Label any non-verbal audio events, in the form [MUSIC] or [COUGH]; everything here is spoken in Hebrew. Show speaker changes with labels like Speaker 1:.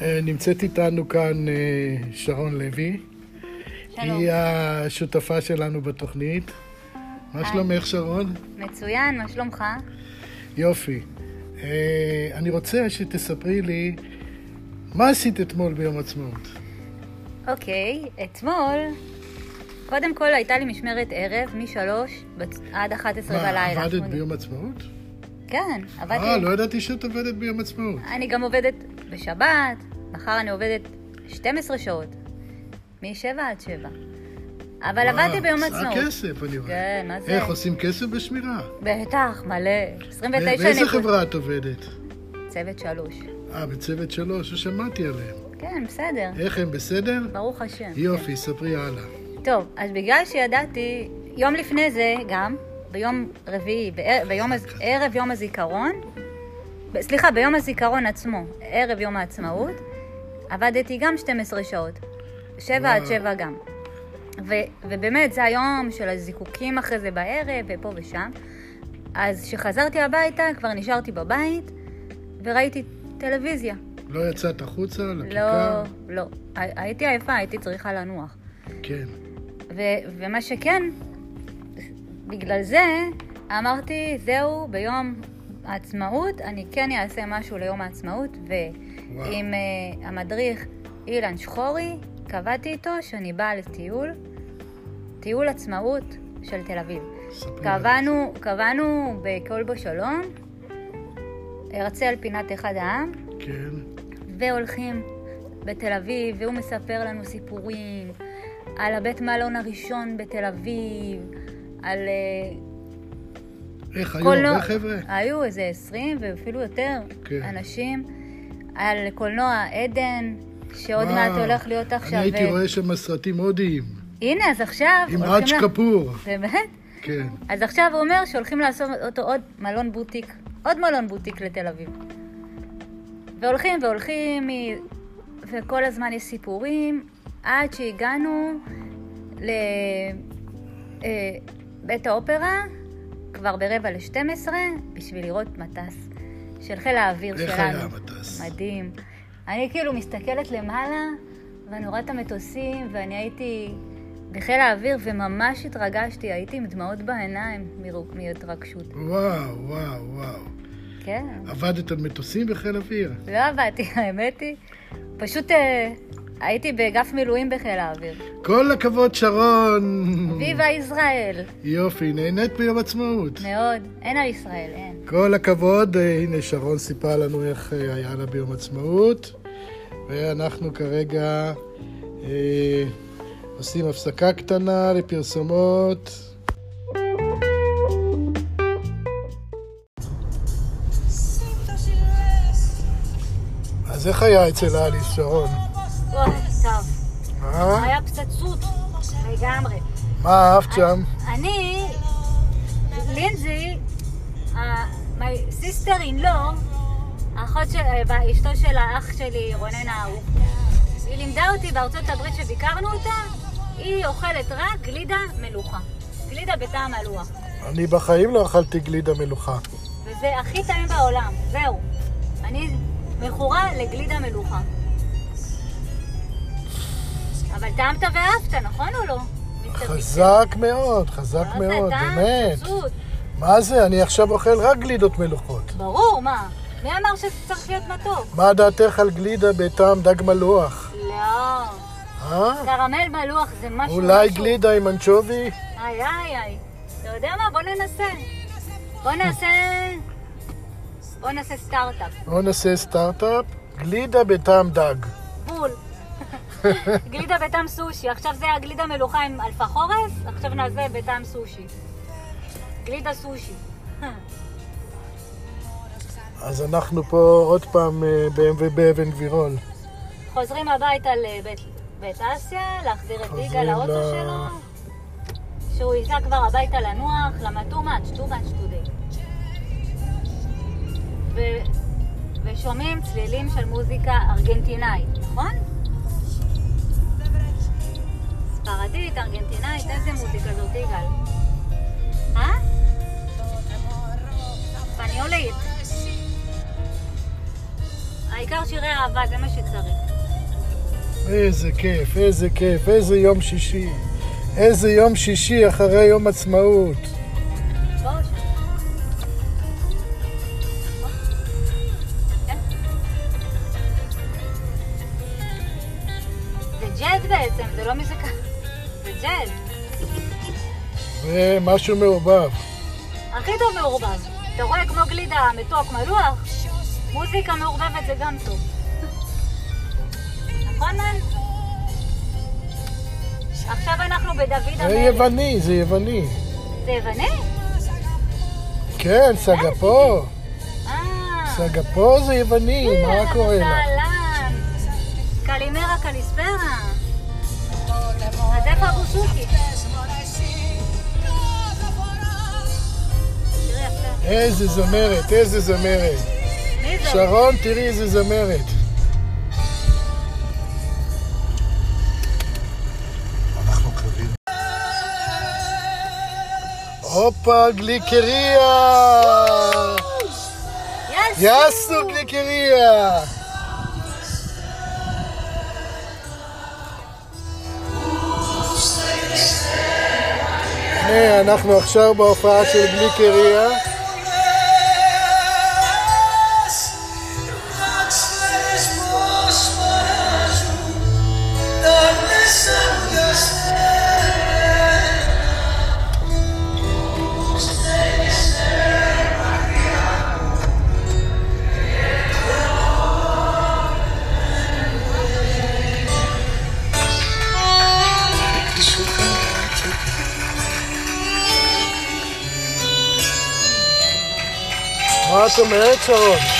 Speaker 1: אה, נמצאת איתנו כאן אה, שרון לוי.
Speaker 2: שלום.
Speaker 1: היא השותפה שלנו בתוכנית. מה
Speaker 2: היי.
Speaker 1: שלומך, שרון?
Speaker 2: מצוין, מה שלומך?
Speaker 1: יופי. אה, אני רוצה שתספרי לי מה עשית אתמול ביום עצמאות.
Speaker 2: אוקיי, אתמול, קודם כל הייתה לי משמרת ערב משלוש בצ- עד 11 בלילה.
Speaker 1: מה, עבדת
Speaker 2: שמונה.
Speaker 1: ביום עצמאות?
Speaker 2: כן, עבדתי.
Speaker 1: אה, לא ידעתי שאת עובדת ביום עצמאות.
Speaker 2: אני גם עובדת בשבת, מחר אני עובדת 12 שעות, מ-7 עד 7. אבל עבדתי ביום עצמאות.
Speaker 1: עושה כסף, אני רואה.
Speaker 2: כן, מה זה?
Speaker 1: איך עושים כסף בשמירה?
Speaker 2: בטח, מלא. 29 נקודות.
Speaker 1: באיזה חברה את עובדת?
Speaker 2: צוות שלוש.
Speaker 1: אה, בצוות שלוש, ששמעתי עליהם.
Speaker 2: כן, בסדר.
Speaker 1: איך הם, בסדר?
Speaker 2: ברוך השם.
Speaker 1: אה- יופי, ספרי הלאה.
Speaker 2: טוב, אז בגלל שידעתי, יום לפני זה גם, ביום רביעי, בער, ביום, הז- ערב יום הזיכרון, ב- סליחה, ביום הזיכרון עצמו, ערב יום העצמאות, עבדתי גם 12 שעות, 7 עד
Speaker 1: וואו.
Speaker 2: 7 גם. ו, ובאמת, זה היום של הזיקוקים אחרי זה בערב, ופה ושם. אז כשחזרתי הביתה, כבר נשארתי בבית, וראיתי טלוויזיה.
Speaker 1: לא יצאת החוצה,
Speaker 2: לא,
Speaker 1: לכיכר?
Speaker 2: לא. הי- הייתי עייפה, הייתי צריכה לנוח.
Speaker 1: כן.
Speaker 2: ו- ומה שכן, בגלל זה אמרתי, זהו, ביום העצמאות, אני כן אעשה משהו ליום העצמאות,
Speaker 1: וואו.
Speaker 2: ועם uh, המדריך אילן שחורי, קבעתי איתו שאני באה לטיול, טיול עצמאות של תל אביב.
Speaker 1: ספרי הלאה.
Speaker 2: קבענו, קבענו בכלבו שלום, הרצל פינת אחד העם,
Speaker 1: כן.
Speaker 2: והולכים בתל אביב, והוא מספר לנו סיפורים על הבית מלון הראשון בתל אביב, על אה,
Speaker 1: איך היו
Speaker 2: קולנוע.
Speaker 1: הרבה חבר'ה?
Speaker 2: היו איזה 20 ואפילו יותר
Speaker 1: כן.
Speaker 2: אנשים, על קולנוע עדן, שעוד
Speaker 1: וואו,
Speaker 2: מעט הולך להיות עכשיו...
Speaker 1: אני הייתי
Speaker 2: אה,
Speaker 1: רואה שם סרטים הודיים,
Speaker 2: הנה, אז עכשיו...
Speaker 1: עם
Speaker 2: הולכים
Speaker 1: ראג'
Speaker 2: לה-
Speaker 1: קפור.
Speaker 2: באמת?
Speaker 1: כן.
Speaker 2: אז עכשיו הוא אומר שהולכים לעשות אותו עוד מלון בוטיק, עוד מלון בוטיק לתל אביב. והולכים והולכים, מ- וכל הזמן יש סיפורים, עד שהגענו לבית האופרה, כבר ברבע לשתים עשרה, בשביל לראות מטס של חיל האוויר שלנו.
Speaker 1: איך היה המטס?
Speaker 2: מדהים. אני כאילו מסתכלת למעלה, ואני רואה את המטוסים, ואני הייתי בחיל האוויר, וממש התרגשתי, הייתי עם דמעות בעיניים מרו- מהתרגשות.
Speaker 1: וואו, וואו, וואו.
Speaker 2: כן,
Speaker 1: עבדת על מטוסים בחיל אוויר?
Speaker 2: לא עבדתי, [LAUGHS] האמת היא. פשוט אה, הייתי באגף מילואים בחיל האוויר.
Speaker 1: כל הכבוד, שרון!
Speaker 2: ויבה ישראל!
Speaker 1: יופי, נהנית ביום עצמאות.
Speaker 2: מאוד. אין על ישראל, אין.
Speaker 1: כל הכבוד, אה, הנה שרון סיפרה לנו איך אה, היה לה ביום עצמאות, ואנחנו כרגע אה, עושים הפסקה קטנה לפרסומות. אז איך היה אצל אליס, שרון?
Speaker 2: וואי, טוב.
Speaker 1: אה?
Speaker 2: היה פצצות לגמרי.
Speaker 1: מה אהבת שם?
Speaker 2: אני, לינזי, ה- my sister in law, אחות של, אה, ב- אשתו של האח שלי, רונן האהוב. היא לימדה אותי בארצות הברית שביקרנו אותה, היא אוכלת רק גלידה מלוכה. גלידה בטעם הלוח.
Speaker 1: אני בחיים לא אכלתי גלידה מלוכה.
Speaker 2: וזה הכי טעים בעולם, זהו. אני מכורה לגלידה מלוכה. אבל טעמת ואהבת, נכון או לא? מיסטר
Speaker 1: חזק מאוד, חזק
Speaker 2: ביסטר?
Speaker 1: מאוד,
Speaker 2: טעם,
Speaker 1: באמת.
Speaker 2: פצצות.
Speaker 1: מה זה? אני עכשיו אוכל רק גלידות מלוכות.
Speaker 2: ברור, מה? מי אמר שזה צריך להיות מתוק?
Speaker 1: מה דעתך על גלידה בטעם דג מלוח?
Speaker 2: לא.
Speaker 1: אה?
Speaker 2: קרמל מלוח זה משהו...
Speaker 1: אולי
Speaker 2: משהו.
Speaker 1: גלידה עם אנצ'ובי?
Speaker 2: איי, איי, איי. אתה יודע מה? בוא ננסה. בוא נעשה... בוא נעשה סטארט-אפ.
Speaker 1: בואו נעשה סטארט-אפ. גלידה בטעם דג.
Speaker 2: בול. גלידה בטעם סושי. עכשיו זה הגלידה מלוכה עם אלפחורס, עכשיו נעשה בטעם סושי. גלידה סושי.
Speaker 1: אז אנחנו פה עוד פעם אה, ב- באבן גבירול.
Speaker 2: חוזרים הביתה לבית בית אסיה, להחזיר את
Speaker 1: חוזרים
Speaker 2: יגאל לאוטו
Speaker 1: ל-
Speaker 2: שלו, שהוא ייסע כבר הביתה לנוח, למה too much, too much today. ו... ושומעים צלילים של מוזיקה ארגנטינאית, נכון? ספרדית, ארגנטינאית, איזה מוזיקה זאת יגאל? אה? ספניולית. העיקר שירי אהבה, זה מה שצריך.
Speaker 1: איזה כיף, איזה כיף, איזה יום שישי. איזה יום שישי אחרי יום עצמאות.
Speaker 2: בואו. בואו. כן. זה ג'אז בעצם, זה לא מוזיקה. זה ג'אז.
Speaker 1: זה משהו מעורבב.
Speaker 2: הכי טוב מעורבב. אתה רואה כמו גלידה, מתוק, מלוח? מוזיקה מעורבבת זה גם טוב. נכון, מן? עכשיו אנחנו בדוד
Speaker 1: זה
Speaker 2: המלך.
Speaker 1: יווני, זה יווני.
Speaker 2: זה יווני?
Speaker 1: כן, סגפו.
Speaker 2: אה.
Speaker 1: סגפו זה יווני, מה קורה לך?
Speaker 2: אהלן. קלימרה קליספרה. אז איפה הבוסוקי? תראי, יפה.
Speaker 1: איזה זמרת, איזה זמרת.
Speaker 2: מי זה?
Speaker 1: שרון, תראי איזה זמרת.
Speaker 3: אנחנו כלבים.
Speaker 1: הופה, גליקריה!
Speaker 2: יאס!
Speaker 1: יאסו גליקריה! הנה, אנחנו עכשיו בהופעה של גליקריה. מה את אומרת, שרון?